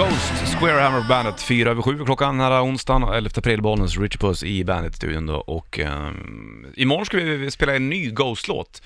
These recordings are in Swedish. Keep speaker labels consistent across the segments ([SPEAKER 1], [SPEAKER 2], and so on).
[SPEAKER 1] Ghost, Squarehammer Bandet, 4 över 7 klockan den här onsdagen, och 11 april, Bollnäs, Richie Puss i Bandet-studion då och ehm, imorgon ska vi spela en ny Ghost-låt.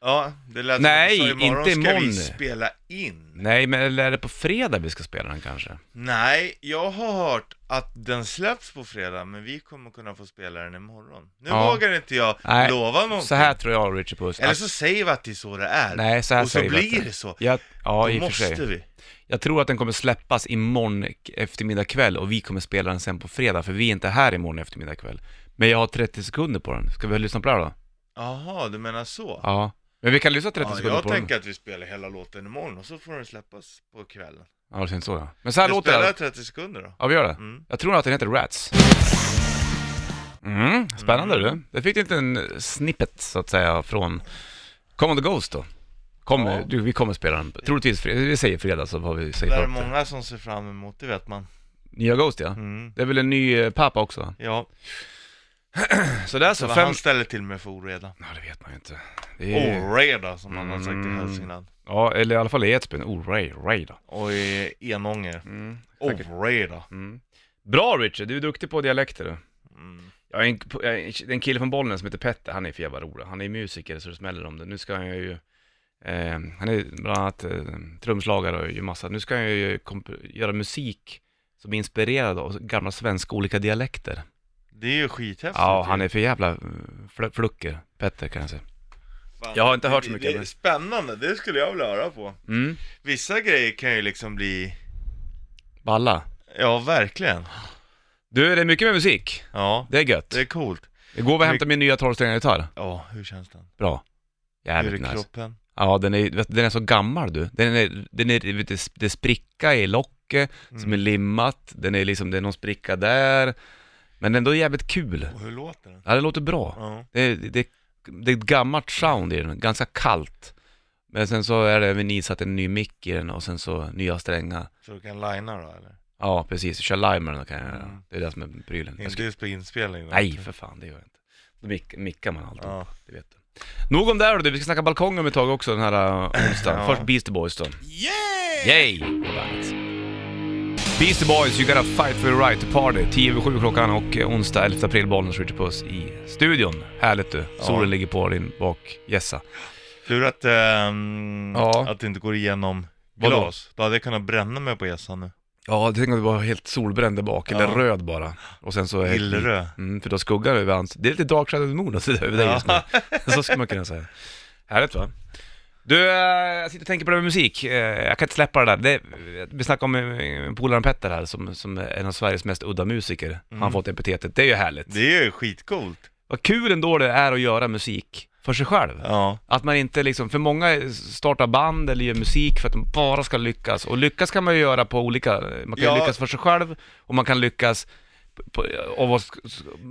[SPEAKER 2] Ja, det lät som
[SPEAKER 1] Nej,
[SPEAKER 2] att du sa, imorgon
[SPEAKER 1] inte
[SPEAKER 2] ska
[SPEAKER 1] imorgon.
[SPEAKER 2] vi spela in.
[SPEAKER 1] Nej, men eller är det på fredag vi ska spela den kanske?
[SPEAKER 2] Nej, jag har hört att den släpps på fredag, men vi kommer kunna få spela den imorgon. Nu
[SPEAKER 1] Ja.
[SPEAKER 2] vågar inte jag
[SPEAKER 1] Nej,
[SPEAKER 2] lova någonting.
[SPEAKER 1] Så här tror jag Richie Puss.
[SPEAKER 2] Eller
[SPEAKER 1] att-
[SPEAKER 2] så säger vi att det är så det är.
[SPEAKER 1] Nej, så här
[SPEAKER 2] och så
[SPEAKER 1] säger vi att
[SPEAKER 2] blir det så.
[SPEAKER 1] Ja, ja
[SPEAKER 2] Då
[SPEAKER 1] i och för sig.
[SPEAKER 2] måste vi.
[SPEAKER 1] Jag tror att den kommer släppas imorgon eftermiddag kväll och vi kommer spela den sen på fredag för vi är inte här imorgon eftermiddag kväll. Men jag har 30 sekunder på den. Ska vi lyssna på det här då?
[SPEAKER 2] Jaha, du menar så?
[SPEAKER 1] Ja. Men vi kan lyssna 30
[SPEAKER 2] Ja,
[SPEAKER 1] sekunder
[SPEAKER 2] jag
[SPEAKER 1] på den.
[SPEAKER 2] tänker att vi spelar hela låten imorgon och så får den släppas på kvällen.
[SPEAKER 1] Ja, det syns så ja. Men så här
[SPEAKER 2] Vi
[SPEAKER 1] låter
[SPEAKER 2] spelar
[SPEAKER 1] det.
[SPEAKER 2] 30 sekunder då.
[SPEAKER 1] Ja, vi gör det.
[SPEAKER 2] Mm.
[SPEAKER 1] Jag tror att den heter Rats. Mm, spännande du. Där fick du inte en snippet så att säga från Common the Ghost då. Kommer,
[SPEAKER 2] Ja.
[SPEAKER 1] du, vi kommer spela den, troligtvis fredag, vi säger fredag så vad vi
[SPEAKER 2] Det
[SPEAKER 1] säger
[SPEAKER 2] är
[SPEAKER 1] klart.
[SPEAKER 2] många som ser fram emot, det vet man.
[SPEAKER 1] Nya Ghost ja.
[SPEAKER 2] Mm.
[SPEAKER 1] Det är väl en ny eh, pappa också?
[SPEAKER 2] Ja,
[SPEAKER 1] Så där
[SPEAKER 2] så
[SPEAKER 1] så,
[SPEAKER 2] vad
[SPEAKER 1] Alltså, fem...
[SPEAKER 2] han Oh. ställer till med för oreda.
[SPEAKER 1] Ja, det vet man ju inte. Det är...
[SPEAKER 2] Oreda som man har sagt i
[SPEAKER 1] Mm.
[SPEAKER 2] Hälsingland.
[SPEAKER 1] Ja, eller i alla fall i Edsbyn. Oh, Ray, Ray då.
[SPEAKER 2] Och i Enånger.
[SPEAKER 1] Mm, säkert.
[SPEAKER 2] Oreda.
[SPEAKER 1] Mm. Bra Richard, du är duktig på dialekter du.
[SPEAKER 2] Mm.
[SPEAKER 1] Jag är en, jag är en- en kille från Bollnäs som heter Petter, han är för jävla rolig. Han är musiker så det smäller om det. Nu ska han ju, eh, han är bland annat eh, trumslagare och ju massa. Nu ska han ju komp- göra musik som är inspirerad av gamla svenska olika dialekter.
[SPEAKER 2] Det är ju skithäftigt.
[SPEAKER 1] Ja,
[SPEAKER 2] ju.
[SPEAKER 1] han är för jävla eh, fl- flucker, Petter kan jag säga.
[SPEAKER 2] Fan,
[SPEAKER 1] jag har inte hört så
[SPEAKER 2] det-
[SPEAKER 1] mycket,
[SPEAKER 2] Det är
[SPEAKER 1] men-
[SPEAKER 2] spännande, det skulle jag vilja höra på.
[SPEAKER 1] Mm,
[SPEAKER 2] Vissa grejer kan ju liksom bli,
[SPEAKER 1] balla.
[SPEAKER 2] ja verkligen.
[SPEAKER 1] Du, det är mycket med musik.
[SPEAKER 2] Ja,
[SPEAKER 1] Det är gött.
[SPEAKER 2] det är coolt.
[SPEAKER 1] Igår var jag hämtade min nya 12 gitarr.
[SPEAKER 2] Ja, hur känns den?
[SPEAKER 1] Bra.
[SPEAKER 2] hur är
[SPEAKER 1] Jävligt nice.
[SPEAKER 2] kroppen?
[SPEAKER 1] Ja, den är, vet du, den är så gammal du. Den är, den är, vet du, det är spricka i locket
[SPEAKER 2] Mm.
[SPEAKER 1] som är limmat, den är liksom, det är någon spricka där. Men ändå jävligt kul.
[SPEAKER 2] Och hur låter den?
[SPEAKER 1] Ja, det låter bra.
[SPEAKER 2] Ja.
[SPEAKER 1] Det, är- det, är- det är ett gammalt sound i den, ganska kallt. Men sen så är det även isatt en ny mick i den och sen så nya strängar.
[SPEAKER 2] Så du kan linea då eller?
[SPEAKER 1] Ja, precis. Kör live med den då kan jag göra.
[SPEAKER 2] Mm.
[SPEAKER 1] Det är det som är prylen. Jag
[SPEAKER 2] Inte just på inspelning då?
[SPEAKER 1] Nej för fan, det gör jag inte. Då mick, mickar man alltid,
[SPEAKER 2] Ja.
[SPEAKER 1] det vet du. Nog om det här, du, vi ska snacka balkong om ett tag också den här äh, onsdagen.
[SPEAKER 2] Ja.
[SPEAKER 1] Först Beastie Boys då. Yay! på bandet. Beastie Boys, you gotta fight for your right to party. 10 över 7 klockan och eh, onsdag 11 april, Bollnäs Ritchie Puss i studion. Härligt du, solen ligger på din bakgässa.
[SPEAKER 2] Tur att, ehm,
[SPEAKER 1] Ja.
[SPEAKER 2] att det inte går igenom
[SPEAKER 1] Vadå?
[SPEAKER 2] glas. Då hade jag kunnat bränna mig på gässan nu.
[SPEAKER 1] Ja, tänk om du var helt solbränd där bak, eller
[SPEAKER 2] Ja.
[SPEAKER 1] röd bara. Och sen så...
[SPEAKER 2] Illerö.
[SPEAKER 1] Mm, för då skuggar över hans... Det är lite Dark Side of the Moon alltså, över dig just nu. Så skulle man kunna säga. Härligt va? Du, eh, jag sitter och tänker på det med musik. Eh, Jag kan inte släppa det där. Det, vi snackade om eh, polaren Petter här, som, som är en av Sveriges mest udda musiker. Han har fått epitetet. Det är ju härligt.
[SPEAKER 2] Det är ju skitcoolt.
[SPEAKER 1] Vad kul ändå det är att göra musik för sig själv.
[SPEAKER 2] Ja.
[SPEAKER 1] Att man inte liksom, för många startar band eller gör musik för att de bara ska lyckas. Och lyckas kan man ju göra på olika, man kan
[SPEAKER 2] Ja.
[SPEAKER 1] ju lyckas för sig själv och man kan lyckas på, och vara,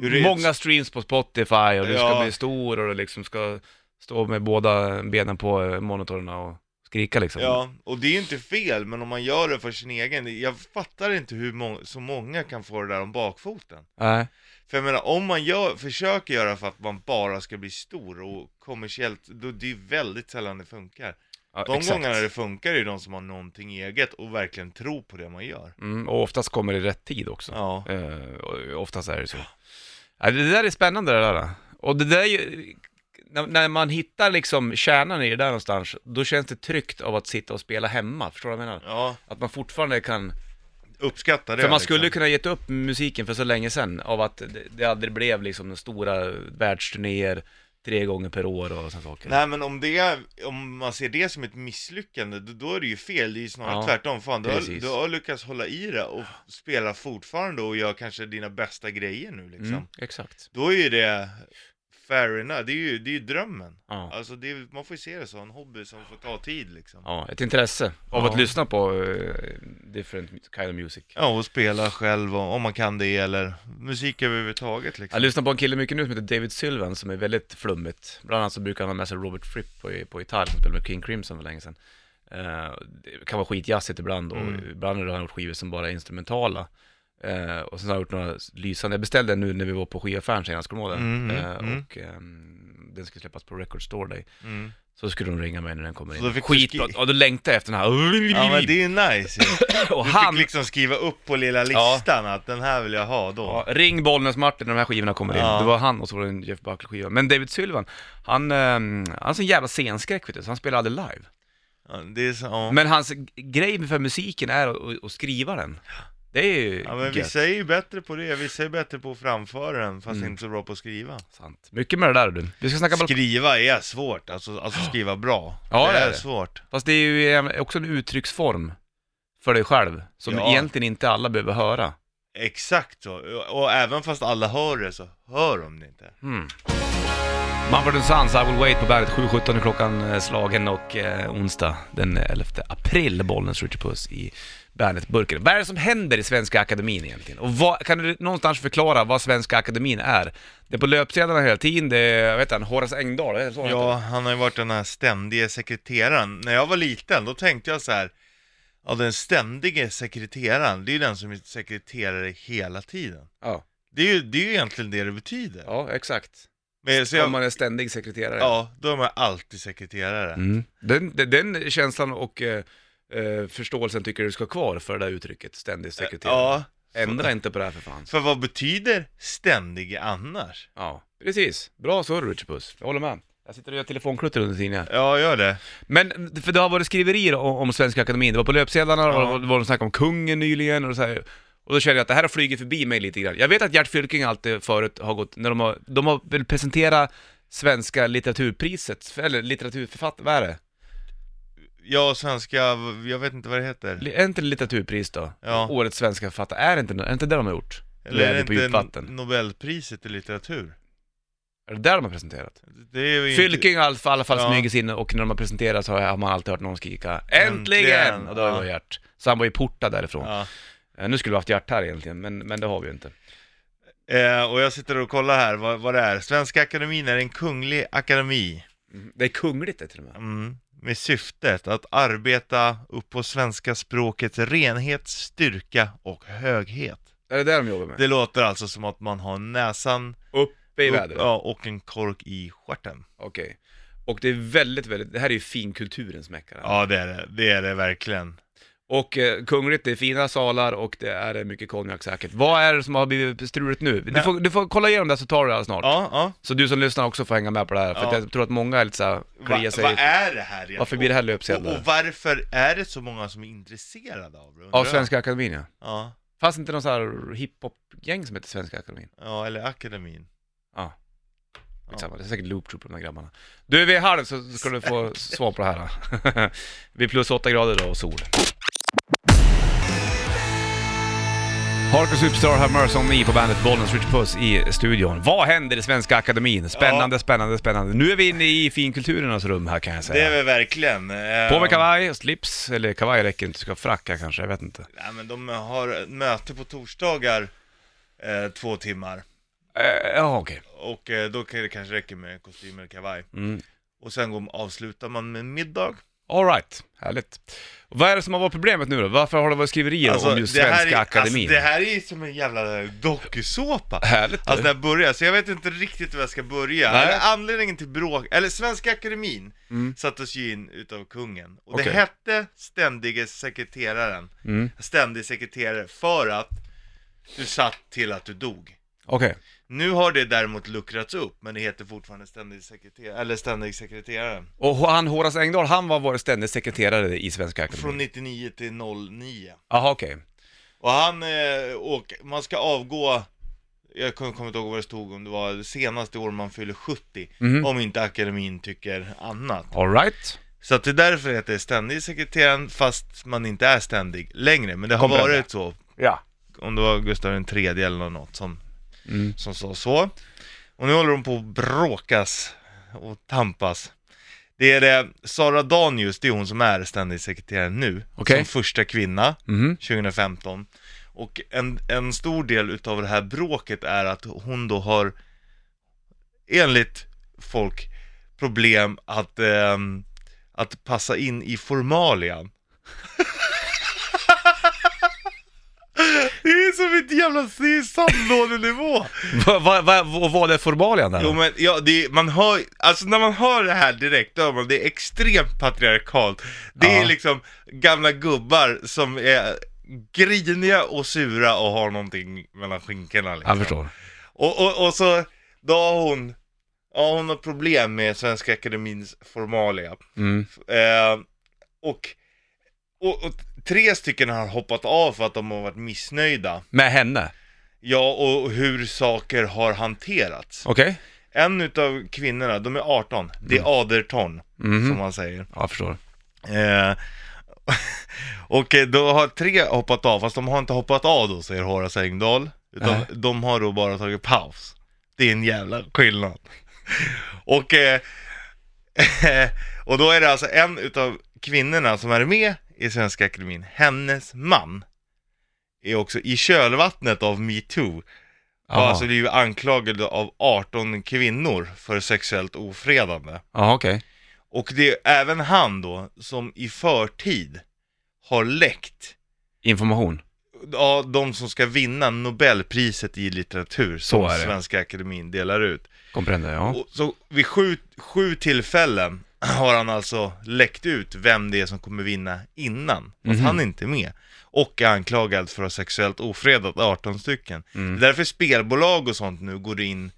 [SPEAKER 2] Ur ett-
[SPEAKER 1] många streams på Spotify och du ska
[SPEAKER 2] Ja.
[SPEAKER 1] bli stor och du liksom ska stå med båda benen på eh, monitorerna och skrika liksom.
[SPEAKER 2] Ja, och det är ju inte fel, men om man gör det för sin egen, jag fattar inte hur må- så många kan få det där om bakfoten.
[SPEAKER 1] Nej.
[SPEAKER 2] För jag menar, om man gör, försöker göra för att man bara ska bli stor och kommersiellt, då det är väldigt sällan det funkar.
[SPEAKER 1] Ja,
[SPEAKER 2] De
[SPEAKER 1] exakt.
[SPEAKER 2] gångerna det funkar är ju de som har någonting eget och verkligen tror på det man gör.
[SPEAKER 1] Mm, och oftast kommer det i rätt tid också.
[SPEAKER 2] Ja.
[SPEAKER 1] Eh, och oftast är det så. Ja, det där är spännande det där. Och det där är ju, när, när man hittar liksom kärnan i det där någonstans, då känns det tryggt av att sitta och spela hemma. Förstår du vad jag menar?
[SPEAKER 2] Ja,
[SPEAKER 1] Att man fortfarande kan...
[SPEAKER 2] uppskatta det.
[SPEAKER 1] För man skulle ju
[SPEAKER 2] liksom.
[SPEAKER 1] kunna gett upp musiken för så länge sedan, av att det, det aldrig blev liksom de stora världsturnéer tre gånger per år och sådana saker.
[SPEAKER 2] Nej men om det, är- om man ser det som ett misslyckande, då, då är det ju fel, det är ju snarare
[SPEAKER 1] Ja,
[SPEAKER 2] tvärtom, fan du har,
[SPEAKER 1] precis.
[SPEAKER 2] du har lyckats hålla i det och spela fortfarande och gör kanske dina bästa grejer nu liksom
[SPEAKER 1] Mm, exakt.
[SPEAKER 2] Då är ju det fair enough, det är ju, det är ju drömmen
[SPEAKER 1] Ja.
[SPEAKER 2] Alltså det är, man får ju se det som en hobby som får ta tid liksom
[SPEAKER 1] ja, ett intresse av
[SPEAKER 2] Ja.
[SPEAKER 1] att lyssna på eh, different kind of music.
[SPEAKER 2] Ja och spela själv och, om man kan det eller musik överhuvudtaget
[SPEAKER 1] Jag
[SPEAKER 2] liksom
[SPEAKER 1] lyssnar på en kille mycket nu som heter David Sylvan som är väldigt flummigt. Bland annat så brukar han ha med sig Robert Fripp på, på gitarr som spelade med King Crimson för länge sedan. Eh, det kan vara skitjazzigt ibland och
[SPEAKER 2] Mm.
[SPEAKER 1] ibland har han gjort skivor som bara är instrumentala. Eh, och sen har han gjort några lysande, jag beställde en nu när vi var på skivaffären senast, kommer du ihåg det?
[SPEAKER 2] Mm,
[SPEAKER 1] Eh,
[SPEAKER 2] mm.
[SPEAKER 1] Och ehm, den skulle släppas på Record Store Day.
[SPEAKER 2] Mm.
[SPEAKER 1] Så skulle de ringa mig när den kommer
[SPEAKER 2] Så då
[SPEAKER 1] in.
[SPEAKER 2] fick du
[SPEAKER 1] Skitbra,
[SPEAKER 2] skri-
[SPEAKER 1] och då längtade jag efter den här.
[SPEAKER 2] Ja men det är nice ju.
[SPEAKER 1] och
[SPEAKER 2] Du
[SPEAKER 1] han...
[SPEAKER 2] fick liksom skriva upp på lilla
[SPEAKER 1] Ja.
[SPEAKER 2] listan att den här vill jag ha då.
[SPEAKER 1] Ja, ring Bollnäs-Martin när de här skivorna kommer in.
[SPEAKER 2] Ja.
[SPEAKER 1] Det var han och så var det en Jeff Buckley-skiva. Men David Sylvan, han, eh, han har sån jävla scenskräck vet du, så han spelar aldrig live.
[SPEAKER 2] Ja, det är så, ja.
[SPEAKER 1] Men hans g- grej för musiken är att- att, att skriva den. Det är ju
[SPEAKER 2] ja, men
[SPEAKER 1] gött.
[SPEAKER 2] vissa är ju bättre på det, vissa är bättre på att framföra den fast
[SPEAKER 1] Mm.
[SPEAKER 2] inte så bra på att skriva.
[SPEAKER 1] Sant. Mycket med det där du. Vi ska snacka balkong.
[SPEAKER 2] Skriva är svårt, alltså, alltså skriva bra.
[SPEAKER 1] Ja,
[SPEAKER 2] det
[SPEAKER 1] det är
[SPEAKER 2] är,
[SPEAKER 1] det.
[SPEAKER 2] svårt.
[SPEAKER 1] Fast det är ju en- också en uttrycksform för dig själv, som
[SPEAKER 2] Ja.
[SPEAKER 1] egentligen inte alla behöver höra.
[SPEAKER 2] Exakt så. Och även fast alla hör det så hör de det inte.
[SPEAKER 1] Mm. Mumford Sons, I will wait på bandet 7.17 är klockan eh, slagen och eh, onsdag den 11 april, Bollnäs Richard Puss i Bandet-burken. Vad är det som händer i Svenska Akademin egentligen? Och vad, kan du någonstans förklara vad Svenska Akademin är? Det är på löpsedlarna hela tiden, det är, vad heter han, Horace Engdahl, är det så han heter?
[SPEAKER 2] Ja, han har ju varit den här ständige sekreteraren. När jag var liten, då tänkte jag så här. Ja, den ständige sekreteraren, det är ju den som är sekreterare hela tiden.
[SPEAKER 1] ja.
[SPEAKER 2] Det är ju, det är ju egentligen det det betyder.
[SPEAKER 1] Ja, exakt.
[SPEAKER 2] Men, så
[SPEAKER 1] Om
[SPEAKER 2] jag,
[SPEAKER 1] man är ständig sekreterare.
[SPEAKER 2] ja, då är man alltid sekreterare.
[SPEAKER 1] Mm. Den, den, den känslan och eh, eh, förståelsen tycker du ska ha kvar för det där uttrycket, ständig sekreterare.
[SPEAKER 2] Ja,
[SPEAKER 1] Ändra inte på det här för fan.
[SPEAKER 2] för vad betyder ständige annars?
[SPEAKER 1] Ja, precis. Bra surr Richard Puss. Jag håller med. Jag sitter och gör telefonklutter under tiden här.
[SPEAKER 2] Ja, gör det.
[SPEAKER 1] Men, för det har varit skriverier om, om Svenska Akademin. Det var på löpsedlarna
[SPEAKER 2] Ja.
[SPEAKER 1] och det var de snackade om kungen nyligen och så här. Och då känner jag att det här har flugit förbi mig lite grann. Jag vet att Gert Fylking alltid förut har gått, när de har, de har väl presenterat Svenska litteraturpriset, eller litteraturförfattare, vad är det?
[SPEAKER 2] Jag svenska, jag vet inte vad det heter.
[SPEAKER 1] Li- Är inte det litteraturpris då?
[SPEAKER 2] Ja.
[SPEAKER 1] Årets svenska författare, är det inte, är det inte det de har gjort? Eller är det på
[SPEAKER 2] inte
[SPEAKER 1] djupvatten?
[SPEAKER 2] Nobelpriset i litteratur?
[SPEAKER 1] Är det där de har presenterat?
[SPEAKER 2] Det är ju
[SPEAKER 1] Fylking har i alla fall- i alla fall
[SPEAKER 2] Ja.
[SPEAKER 1] smugit sig in och när de har presenterat så har man alltid hört någon skrika
[SPEAKER 2] Äntligen!
[SPEAKER 1] ”Äntligen!” och då
[SPEAKER 2] Ja.
[SPEAKER 1] var Gert. Så han var ju portad därifrån.
[SPEAKER 2] Ja.
[SPEAKER 1] Eh, Nu skulle vi haft Gert här egentligen, men, men det har vi ju inte.
[SPEAKER 2] Eh, och jag sitter och kollar här vad, vad det är. Svenska Akademin är en kunglig akademi
[SPEAKER 1] Mm. Det är kungligt det till och med.
[SPEAKER 2] mm, med syftet att arbeta upp på svenska språkets renhet, styrka och höghet.
[SPEAKER 1] Är det det de jobbar med?
[SPEAKER 2] Det låter alltså som att man har näsan
[SPEAKER 1] Uppe i
[SPEAKER 2] upp,
[SPEAKER 1] vädret?
[SPEAKER 2] ja, och en kork i stjärten.
[SPEAKER 1] Okej. Och det är väldigt, väldigt, det här är ju finkulturens mecka. det här.
[SPEAKER 2] Ja, det är det. Det är det verkligen.
[SPEAKER 1] Och eh, kungligt, det är fina salar och det är eh, mycket konjak säkert. Vad är det som har blivit struligt nu? Du
[SPEAKER 2] Nej.
[SPEAKER 1] får, du får kolla igenom det här så tar du det här snart.
[SPEAKER 2] Ja, ja.
[SPEAKER 1] Så du som lyssnar också får hänga med på det här, för
[SPEAKER 2] Ja.
[SPEAKER 1] att jag tror att många är lite såhär,
[SPEAKER 2] Va-
[SPEAKER 1] kliar
[SPEAKER 2] Vad
[SPEAKER 1] sig.
[SPEAKER 2] är det här egentligen?
[SPEAKER 1] Varför blir det här
[SPEAKER 2] och,
[SPEAKER 1] löpsedlar?
[SPEAKER 2] och varför är det så många som är intresserade av det? undrar
[SPEAKER 1] Av
[SPEAKER 2] jag?
[SPEAKER 1] Svenska Akademien ja.
[SPEAKER 2] Ja,
[SPEAKER 1] Fanns inte någon sån här hiphop-gäng som hette Svenska Akademin?
[SPEAKER 2] ja, eller akademin.
[SPEAKER 1] Ja.
[SPEAKER 2] Ja.
[SPEAKER 1] Skitsamma, det är säkert Loop Troop de där grabbarna. Du, vid halv så ska du få svar på det här. då. Vi är plus åtta grader idag och sol. Harker Superstar har Merson i på bandet Bollnäs Rich Puss i studion. Vad händer i Svenska Akademin? Spännande, spännande, spännande. Nu är vi inne i finkulturernas rum här kan jag
[SPEAKER 2] Det är
[SPEAKER 1] säga.
[SPEAKER 2] väl verkligen. eh,
[SPEAKER 1] På med kavaj och slips, eller kavaj räcker inte, du ska ha fracka kanske, jag vet inte.
[SPEAKER 2] Nej men de har ett möte på torsdagar eh, två timmar
[SPEAKER 1] Eh, Ja, okej.
[SPEAKER 2] och eh, då kan det kanske räcka med kostym eller kavaj.
[SPEAKER 1] Mm.
[SPEAKER 2] Och sen går, avslutar man med middag.
[SPEAKER 1] Alright, härligt. Vad är det som har varit problemet nu då? Varför har det varit skriverier om just
[SPEAKER 2] Alltså, det här
[SPEAKER 1] Svenska
[SPEAKER 2] är,
[SPEAKER 1] Akademin?
[SPEAKER 2] Alltså, det här är ju som en jävla dokusåpa.
[SPEAKER 1] Härligt
[SPEAKER 2] Alltså
[SPEAKER 1] du.
[SPEAKER 2] när jag börjar, så jag vet inte riktigt var jag ska börja.
[SPEAKER 1] Nej.
[SPEAKER 2] Anledningen till bråk, eller Svenska Akademin
[SPEAKER 1] Mm.
[SPEAKER 2] sattes ju in utav kungen. Och det
[SPEAKER 1] Okej.
[SPEAKER 2] hette ständige sekreteraren,
[SPEAKER 1] Mm.
[SPEAKER 2] ständig sekreterare, för att du satt till att du dog.
[SPEAKER 1] Okej,
[SPEAKER 2] Nu har det däremot luckrats upp, men det heter fortfarande ständig sekreterare, eller ständig sekreterare.
[SPEAKER 1] och han Horace Engdahl, han var vår ständig sekreterare i Svenska
[SPEAKER 2] Från
[SPEAKER 1] Akademien?
[SPEAKER 2] 99 till 09.
[SPEAKER 1] Jaha okej.
[SPEAKER 2] Och han, eh, och man ska avgå, jag kommer kommer inte ihåg vad det stod om, det var senaste år man fyller 70,
[SPEAKER 1] Mhm.
[SPEAKER 2] om inte akademin tycker annat.
[SPEAKER 1] Alright.
[SPEAKER 2] Så att det är därför det heter ständig sekreteraren, fast man inte är ständig längre. Men det har
[SPEAKER 1] Comprende.
[SPEAKER 2] varit så,
[SPEAKER 1] Ja.
[SPEAKER 2] om det var Gustav III eller något som,
[SPEAKER 1] Mm.
[SPEAKER 2] som sa så. Och nu håller de på att bråkas och tampas. Det är det, Sara Danius, det är hon som är ständig sekreterare nu,
[SPEAKER 1] Okej.
[SPEAKER 2] som första kvinna
[SPEAKER 1] Mhm.
[SPEAKER 2] 2015. Och en, en stor del utav det här bråket är att hon då har, enligt folk, problem att, ehm, att passa in i formalian. Det är som inte jävla se sandlådenivå!
[SPEAKER 1] Vad va, va, va, vad är formalian där?
[SPEAKER 2] Jo men ja, det, är- man hör, alltså när man hör det här direkt, då hör man, det är extremt patriarkalt. Det
[SPEAKER 1] Ja.
[SPEAKER 2] är liksom gamla gubbar som är griniga och sura och har någonting mellan skinkorna liksom.
[SPEAKER 1] Jag förstår.
[SPEAKER 2] Och, och, och så, då har hon, ja hon har problem med Svenska Akademins formalia.
[SPEAKER 1] Mm.
[SPEAKER 2] Eh, och, och, och tre stycken har hoppat av för att de har varit missnöjda.
[SPEAKER 1] Med henne?
[SPEAKER 2] Ja, och hur saker har hanterats.
[SPEAKER 1] Okej?
[SPEAKER 2] En utav kvinnorna, de är 18, det är Aderton, som man säger.
[SPEAKER 1] Ja, Mhm, jag förstår.
[SPEAKER 2] Eh, och eh, då har tre hoppat av, fast de har inte hoppat av då, säger Horace Engdahl. Utan
[SPEAKER 1] Nej.
[SPEAKER 2] de har då bara tagit paus. Det är en jävla skillnad. och, eh, och då är det alltså en utav kvinnorna som är med i Svenska Akademin, hennes man, är också i kölvattnet av metoo, har
[SPEAKER 1] Jaha.
[SPEAKER 2] alltså blivit anklagad av 18 kvinnor för sexuellt ofredande.
[SPEAKER 1] Ja, okej.
[SPEAKER 2] Och det är även han då som i förtid har läckt
[SPEAKER 1] Information.
[SPEAKER 2] ja, de som ska vinna Nobelpriset i litteratur
[SPEAKER 1] Så
[SPEAKER 2] som
[SPEAKER 1] är det.
[SPEAKER 2] Svenska Akademin delar ut.
[SPEAKER 1] Comprende, ja.
[SPEAKER 2] Och så vid sju, sju tillfällen har han alltså läckt ut vem det är som kommer vinna innan. Fast
[SPEAKER 1] Mhm.
[SPEAKER 2] han är inte med. Och är anklagad för att ha sexuellt ofredat 18 stycken.
[SPEAKER 1] Mm.
[SPEAKER 2] Det är därför spelbolag och sånt nu går in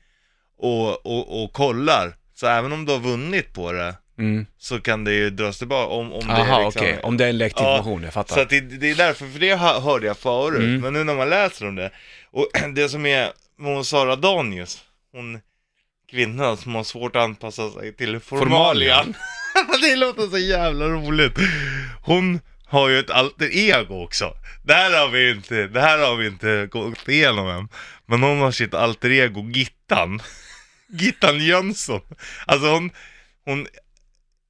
[SPEAKER 2] och, och, och kollar. Så även om du har vunnit på det
[SPEAKER 1] Mm.
[SPEAKER 2] så kan det ju dras tillbaka om, om det
[SPEAKER 1] Aha,
[SPEAKER 2] är liksom-
[SPEAKER 1] okej. Om det är en läckt
[SPEAKER 2] Ja,
[SPEAKER 1] information, jag fattar.
[SPEAKER 2] Så att det, det är därför, för det hö- hörde jag förut,
[SPEAKER 1] Mm.
[SPEAKER 2] men nu när man läser om det, och det som är med hon Sara Danius, hon kvinnan som har svårt att anpassa sig till formalian. det låter så jävla roligt. Hon har ju ett alter ego också. Det här har vi inte, det här har vi inte gått igenom än. Men hon har sitt alter ego Gittan. Gittan Jönsson. Alltså hon, hon,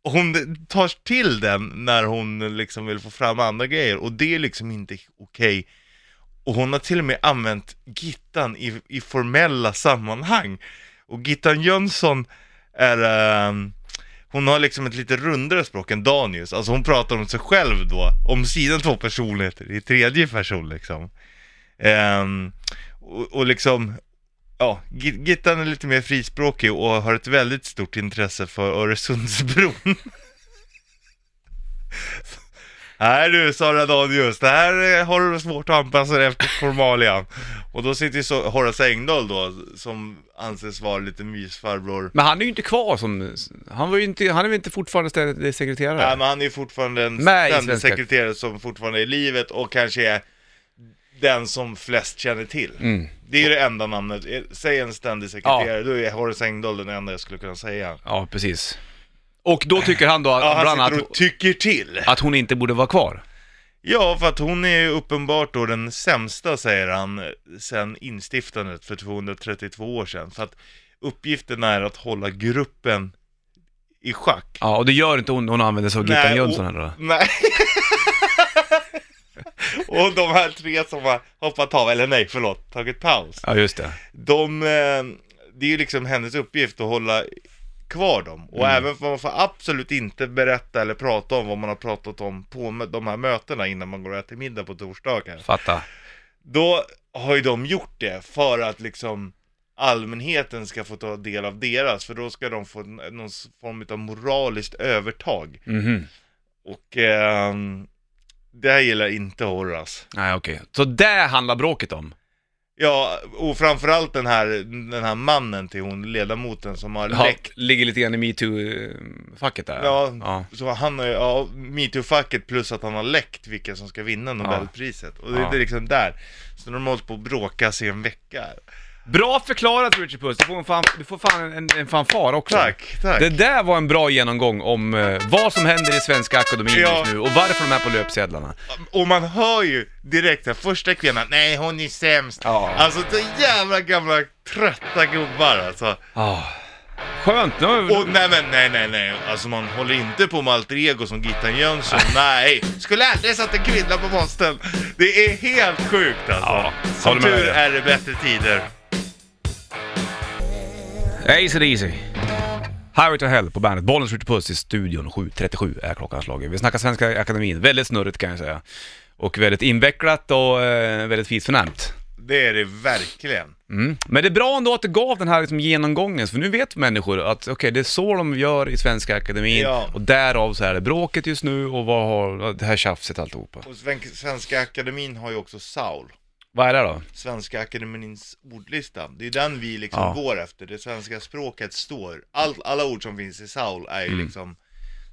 [SPEAKER 2] hon tar till den när hon liksom vill få fram andra grejer och det är liksom inte okej. Och hon har till och med använt Gittan i, i formella sammanhang. Och Gittan Jönsson är, ehm, hon har liksom ett lite rundare språk än Danius. Alltså hon pratar om sig själv då, om sina två personligheter i tredje person liksom. Ehm, och, och liksom, ja, Gi- Gittan är lite mer frispråkig och har ett väldigt stort intresse för Öresundsbron. Nej du Sara Danius, det här eh, har du svårt att anpassa dig efter formalian. Och då sitter ju så Horace Engdahl då, som anses vara lite mysfarbror.
[SPEAKER 1] Men han är ju inte kvar som... Han, var ju inte, han är väl inte fortfarande stä- sekreterare?
[SPEAKER 2] Nej men han är ju fortfarande en
[SPEAKER 1] Med i
[SPEAKER 2] ständig
[SPEAKER 1] Svenska-
[SPEAKER 2] sekreterare som fortfarande är i livet och kanske är den som flest känner till.
[SPEAKER 1] Mm.
[SPEAKER 2] Det är ju det enda namnet. Eh, Säg en ständig sekreterare, då är Horace Engdahl den enda jag skulle kunna säga.
[SPEAKER 1] Ja, precis. Och då tycker han då att,
[SPEAKER 2] Ja, han
[SPEAKER 1] bland annat
[SPEAKER 2] sitter och tycker till.
[SPEAKER 1] att hon inte borde vara kvar.
[SPEAKER 2] Ja, för att hon är ju uppenbart då den sämsta, säger han, sen instiftandet för 232 år sedan. För att uppgiften är att hålla gruppen i schack.
[SPEAKER 1] Ja, och det gör inte hon, hon använder sig av Gittan
[SPEAKER 2] Nej, och-
[SPEAKER 1] Jönsson heller då.
[SPEAKER 2] Nej. och de här tre som har hoppat av, eller nej, förlåt, tagit paus.
[SPEAKER 1] Ja, just det.
[SPEAKER 2] De, eh, det är ju liksom hennes uppgift att hålla kvar dem.
[SPEAKER 1] Mm.
[SPEAKER 2] Och även för man får absolut inte berätta eller prata om vad man har pratat om på mö- de här mötena innan man går och äter middag på torsdagar.
[SPEAKER 1] Fatta.
[SPEAKER 2] Då har ju de gjort det för att liksom allmänheten ska få ta del av deras, för då ska de få n- någon s- form av moraliskt övertag.
[SPEAKER 1] Mhm.
[SPEAKER 2] Och ehm, det här gillar inte Horace.
[SPEAKER 1] Nej, okej. Så det handlar bråket om?
[SPEAKER 2] Ja, och framförallt den här, den här mannen till hon, ledamoten som har
[SPEAKER 1] Ja,
[SPEAKER 2] läckt.
[SPEAKER 1] ligger lite grann i metoo-facket där?
[SPEAKER 2] Ja,
[SPEAKER 1] ja.
[SPEAKER 2] så han har ju, ja, metoo-facket plus att han har läckt vilka som ska vinna Nobelpriset. Och det,
[SPEAKER 1] Ja.
[SPEAKER 2] det är liksom där. Så de har hållit på att bråkas i en vecka.
[SPEAKER 1] Bra förklarat Richard Puss, du får, en fan, du får fan en, en fanfar också.
[SPEAKER 2] Tack, tack.
[SPEAKER 1] Det där var en bra genomgång om eh, vad som händer i Svenska Akademin
[SPEAKER 2] Ja.
[SPEAKER 1] just nu och varför de är på löpsedlarna.
[SPEAKER 2] Och man hör ju direkt den första kvinnan, nej hon är sämst.
[SPEAKER 1] Ja.
[SPEAKER 2] Alltså så jävla gamla trötta gubbar alltså.
[SPEAKER 1] Ah. Skönt, nu har vi-
[SPEAKER 2] Och nej men nej nej nej, alltså man håller inte på med alter ego som Gittan Jönsson, nej. Skulle aldrig satt en kvinna på posten. Det är helt sjukt alltså.
[SPEAKER 1] Ja, håller
[SPEAKER 2] som
[SPEAKER 1] med dig.
[SPEAKER 2] tur är det bättre tider.
[SPEAKER 1] Ace it easy. Highway to hell på bandet. Bollen skjuter puss i studion. 7.37 är klockan slagen. Vi snackar Svenska Akademin. Väldigt snurrigt kan jag säga. Och väldigt invecklat och eh, väldigt fint förnämt.
[SPEAKER 2] Det är det verkligen.
[SPEAKER 1] Mm. Men det är bra ändå att du gav den här liksom genomgången, för nu vet människor att okej, det är så de gör i Svenska Akademin
[SPEAKER 2] Ja.
[SPEAKER 1] och därav så är det bråket just nu och vad har det här tjafset alltihopa.
[SPEAKER 2] Och Sven- Svenska Akademin har ju också Saul.
[SPEAKER 1] Vad är det då?
[SPEAKER 2] Svenska Akademins ordlista. Det är den vi liksom
[SPEAKER 1] Ja.
[SPEAKER 2] går efter. Det svenska språket står. All, alla ord som finns i Saul är ju liksom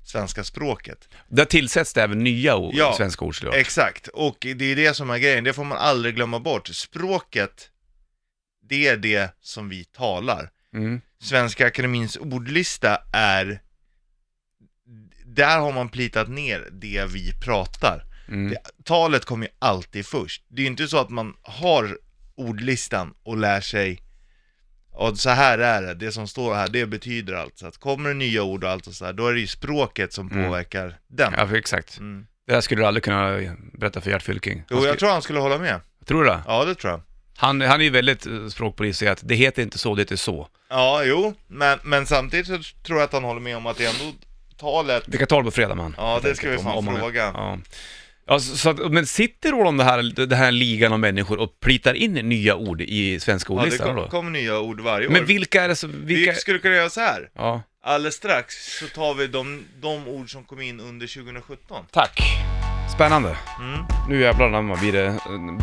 [SPEAKER 2] svenska språket.
[SPEAKER 1] Där tillsätts det även nya ord,
[SPEAKER 2] Ja.
[SPEAKER 1] svenska ord såklart.
[SPEAKER 2] Exakt, och det är det som är grejen. Det får man aldrig glömma bort. Språket, det är det som vi talar.
[SPEAKER 1] Mm.
[SPEAKER 2] Svenska Akademins ordlista är... Där har man plitat ner det vi pratar.
[SPEAKER 1] Mm.
[SPEAKER 2] Det, talet kommer ju alltid först. Det är ju inte så att man har ordlistan och lär sig och så här är det, det som står här, det betyder allt. Så att kommer det nya ord och allt och så här, då är det ju språket som
[SPEAKER 1] Mm.
[SPEAKER 2] påverkar den.
[SPEAKER 1] Ja, för exakt.
[SPEAKER 2] Mm.
[SPEAKER 1] Det där skulle du aldrig kunna berätta för Gert Fylking. Han
[SPEAKER 2] Jo, jag
[SPEAKER 1] skulle-
[SPEAKER 2] tror han skulle hålla med.
[SPEAKER 1] Tror du det?
[SPEAKER 2] Ja, det tror jag.
[SPEAKER 1] Han, han är ju väldigt eh, språkpolis och säger att det heter inte så, det heter så.
[SPEAKER 2] Ja, jo, men, men samtidigt så tror jag att han håller med om att det är ändå talet...
[SPEAKER 1] Vi kan ta det på fredag man.
[SPEAKER 2] Ja,
[SPEAKER 1] Helt
[SPEAKER 2] det ska
[SPEAKER 1] enkelt,
[SPEAKER 2] vi fan
[SPEAKER 1] man-
[SPEAKER 2] fråga.
[SPEAKER 1] Ja. Ja, så, så att, men sitter då de det här, det här ligan av människor och plitar in nya ord i svenska
[SPEAKER 2] Ja, det
[SPEAKER 1] ordlistan
[SPEAKER 2] kom-
[SPEAKER 1] då?
[SPEAKER 2] kommer nya ord varje år.
[SPEAKER 1] Men vilka är det som, vilka...
[SPEAKER 2] Vi skulle kunna göra så här.
[SPEAKER 1] Ja.
[SPEAKER 2] Alldeles strax så tar vi de, de ord som kom in under 2017.
[SPEAKER 1] Tack. Spännande.
[SPEAKER 2] Mm.
[SPEAKER 1] Nu jävlar anamma blir det eh,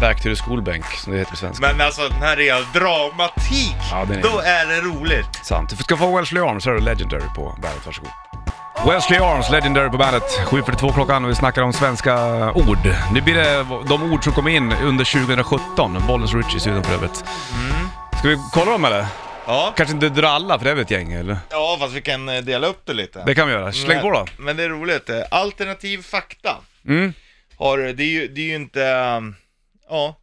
[SPEAKER 1] back to the school bank, som det heter på svenska.
[SPEAKER 2] Men alltså den här är dramatik!
[SPEAKER 1] Ja, den är-
[SPEAKER 2] Då är det roligt!
[SPEAKER 1] Sant. Du ska få Wellesley Arms, så är det Legendary på bandet. Varsågod. Wellesley Arms, Legendary på bandet. 7.42 klockan och vi snackar om svenska ord. Nu blir det de ord som kom in under 2017. Bollens Richie i studion för övrigt. Ska vi kolla dem eller?
[SPEAKER 2] Ja,
[SPEAKER 1] Kanske inte dra alla för det är väl ett gäng eller?
[SPEAKER 2] ja fast vi kan eh, dela upp det lite.
[SPEAKER 1] Det kan vi göra. Släng på då.
[SPEAKER 2] Men, men det är roligt. Eh, Alternativ fakta.
[SPEAKER 1] Mm.
[SPEAKER 2] Har, det, är ju, det är ju inte... ehm, Ja.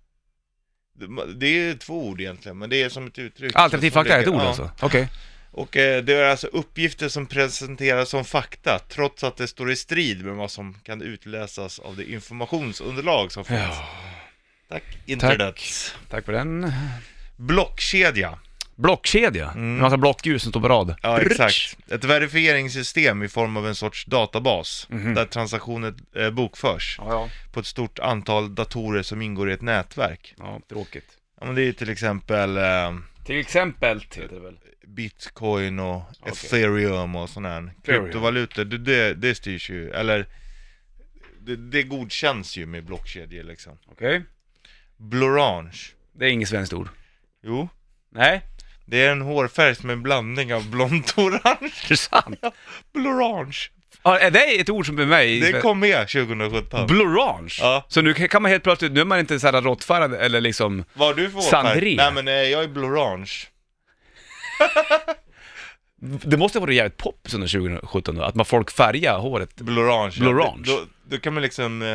[SPEAKER 2] Det- Det är ju två ord egentligen, men det är som ett uttryck.
[SPEAKER 1] Alternativ
[SPEAKER 2] Som
[SPEAKER 1] fakta är ett
[SPEAKER 2] ligger-
[SPEAKER 1] ord
[SPEAKER 2] ja.
[SPEAKER 1] alltså? Okej.
[SPEAKER 2] Och eh, det är alltså uppgifter som presenteras som fakta, trots att det står i strid med vad som kan utläsas av det informationsunderlag som finns.
[SPEAKER 1] Ja.
[SPEAKER 2] Tack internet.
[SPEAKER 1] Tack för den.
[SPEAKER 2] Blockkedja.
[SPEAKER 1] Blockkedja. En massa blockljus som står på rad.
[SPEAKER 2] Ja, exakt. Ett verifieringssystem i form av en sorts databas,
[SPEAKER 1] Mhm.
[SPEAKER 2] där transaktioner eh, bokförs
[SPEAKER 1] Ja, ja.
[SPEAKER 2] på ett stort antal datorer som ingår i ett nätverk.
[SPEAKER 1] Ja, tråkigt.
[SPEAKER 2] Ja, men det är ju till exempel eh,
[SPEAKER 1] Till exempel heter det väl?
[SPEAKER 2] bitcoin och ethereum och sådana här
[SPEAKER 1] Ethereum.
[SPEAKER 2] kryptovalutor, det, det, det styrs ju, eller det, det godkänns ju med blockkedjor liksom.
[SPEAKER 1] Okej.
[SPEAKER 2] Blorange.
[SPEAKER 1] Det är inget svenskt ord.
[SPEAKER 2] Jo,
[SPEAKER 1] Nej.
[SPEAKER 2] det är en hårfärg som är en blandning av blont och orange.
[SPEAKER 1] Är det sant?
[SPEAKER 2] Blorange.
[SPEAKER 1] Ja, är det ett ord som är med i...
[SPEAKER 2] Det kom med 2017.
[SPEAKER 1] Blorange?
[SPEAKER 2] Ja.
[SPEAKER 1] Så nu kan man helt plötsligt, nu är man inte såhär råttfärgad eller liksom...
[SPEAKER 2] Vad har du för hårfärg?
[SPEAKER 1] Sandré.
[SPEAKER 2] Nej men eh, jag är blorange.
[SPEAKER 1] Det måste ha varit jävligt poppis under 2017 då, att man folk färgar håret.
[SPEAKER 2] Blorange.
[SPEAKER 1] Blorange.
[SPEAKER 2] Då, då kan man liksom, eh,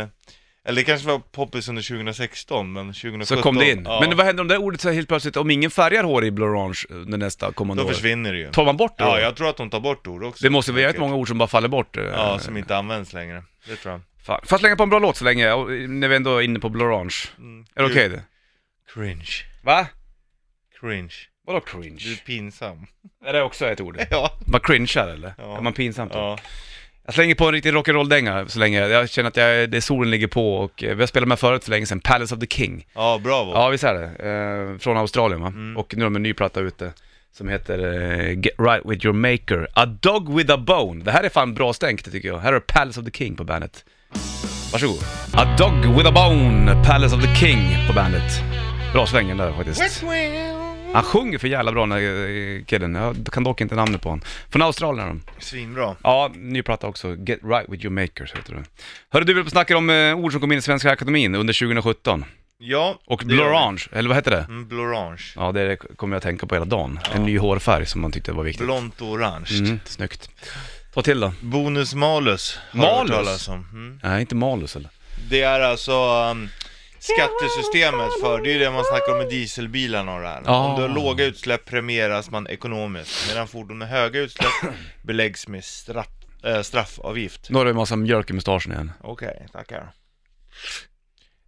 [SPEAKER 2] eller det kanske var poppis under 2016 men 2017.
[SPEAKER 1] Så kom det in.
[SPEAKER 2] Ja,
[SPEAKER 1] Men vad händer om det ordet så här helt plötsligt, om ingen färgar hår i blorange under nästa kommande
[SPEAKER 2] då
[SPEAKER 1] år?
[SPEAKER 2] försvinner det ju.
[SPEAKER 1] Tar man bort det
[SPEAKER 2] Ja,
[SPEAKER 1] då?
[SPEAKER 2] jag tror att de tar bort ord också.
[SPEAKER 1] Det måste vara jävligt
[SPEAKER 2] Säkert.
[SPEAKER 1] många ord som bara faller bort. eh,
[SPEAKER 2] Ja, som inte används längre. Det tror jag.
[SPEAKER 1] Fan. Får jag slänga på en bra låt så länge, och, eh, när vi ändå är inne på blorange?
[SPEAKER 2] Mm.
[SPEAKER 1] Är det okej det?
[SPEAKER 2] Cringe.
[SPEAKER 1] Va?
[SPEAKER 2] Cringe.
[SPEAKER 1] Vadå
[SPEAKER 2] Du är
[SPEAKER 1] cringe?
[SPEAKER 2] pinsam.
[SPEAKER 1] Är det också ett ord?
[SPEAKER 2] Ja.
[SPEAKER 1] Man cringear eller?
[SPEAKER 2] Ja.
[SPEAKER 1] Är man pinsamt då?
[SPEAKER 2] ja.
[SPEAKER 1] Jag slänger på en riktig rock'n'roll-dänga så länge. Jag känner att jag, det är solen ligger på och eh, vi har spelat med förut för länge sedan, Palace of the King.
[SPEAKER 2] Ja, bravo.
[SPEAKER 1] Ja, visst är det. Eh, från Australien va? Och nu har de en ny platta ute som heter eh, Get Right With Your Maker, A Dog With A Bone. Det här är fan bra stänk det tycker jag. Här är Palace of the King på bandet. Varsågod. A Dog With A Bone, Palace of the King på bandet. Bra svängen där faktiskt. Han sjunger för jävla bra den här eh, killen, jag kan dock inte namnet på honom. Från Australien är de.
[SPEAKER 2] Svinbra.
[SPEAKER 1] Ja, ny platta också. Get right with your makers heter det. Hörru du, vi snackar om eh, ord som kom in i Svenska Akademin under 2017.
[SPEAKER 2] Ja.
[SPEAKER 1] Och
[SPEAKER 2] det gör vi.
[SPEAKER 1] blorange, eller vad hette det?
[SPEAKER 2] Mm, blorange.
[SPEAKER 1] Ja, det kommer jag att tänka på hela dagen. En ny hårfärg som man tyckte var viktig.
[SPEAKER 2] Blont och orange.
[SPEAKER 1] Mm, snyggt. Ta till då.
[SPEAKER 2] Bonus malus. har jag hört
[SPEAKER 1] Malus?
[SPEAKER 2] talas om. Mm.
[SPEAKER 1] Nej, inte malus eller?
[SPEAKER 2] Det är alltså um, skattesystemet för, det är ju det man snackar om med dieselbilarna och det här.
[SPEAKER 1] Ja.
[SPEAKER 2] Om du har låga utsläpp premieras man ekonomiskt, medan fordon med höga utsläpp beläggs med straff, eh, straffavgift.
[SPEAKER 1] Nu har du en massa mjölk i mustaschen igen.
[SPEAKER 2] Okej, tackar.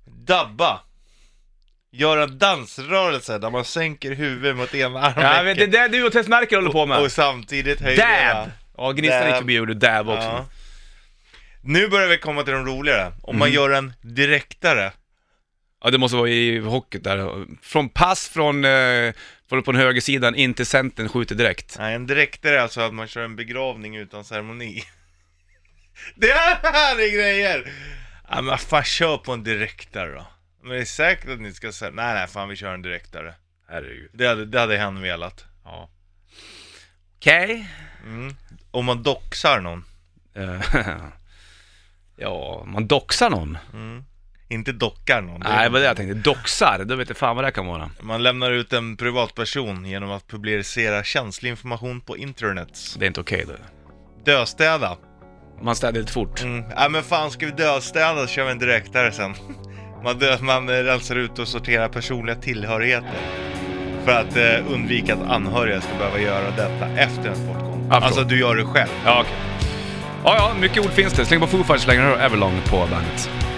[SPEAKER 2] Dabba. Göra en dansrörelse där man sänker huvudet mot ena armen.
[SPEAKER 1] där du och Tess Merkel håller på
[SPEAKER 2] och samtidigt höjer
[SPEAKER 1] Dab!
[SPEAKER 2] ena.
[SPEAKER 1] Ja, Gnistan gick
[SPEAKER 2] Dab.
[SPEAKER 1] förbi och gjorde dab också.
[SPEAKER 2] Ja. Nu börjar vi komma till de roligare. Om man gör en direktare.
[SPEAKER 1] Ja, det måste vara i hockey där. Från pass från, eh, från på den höger sidan in till centern, skjuter direkt.
[SPEAKER 2] Nej, en dräktare är alltså att man kör en begravning utan ceremoni. Det här är grejer! Ja, men vad fan, kör på en direktare då. Men det är säkert att ni ska säga, nej nej fan vi kör en direktare.
[SPEAKER 1] Herregud.
[SPEAKER 2] Det hade, det hade han velat.
[SPEAKER 1] Ja. Okej.
[SPEAKER 2] Mm. Om man doxar någon.
[SPEAKER 1] Eh, ja, man doxar någon.
[SPEAKER 2] Mm. Inte dockar någon. Det-
[SPEAKER 1] Nej, vad det jag tänkte. Doxar, då vet jag fan vad det kan vara.
[SPEAKER 2] Man lämnar ut en privatperson genom att publicera känslig information på internet.
[SPEAKER 1] Det är inte okej
[SPEAKER 2] Döstäda.
[SPEAKER 1] då. Man städar lite fort.
[SPEAKER 2] Mm. Ja men fan ska vi döstäda så kör vi en direktare sen. Man, dö- man eh, rensar ut och sorterar personliga tillhörigheter. För att eh, undvika att anhöriga ska behöva göra detta efter ens bortgång.
[SPEAKER 1] Ja, förstår.
[SPEAKER 2] alltså du gör det själv.
[SPEAKER 1] Ja, okej. Ja, ja, mycket ord finns det. Släng på Foo Fighters längre och Everlong på bandet.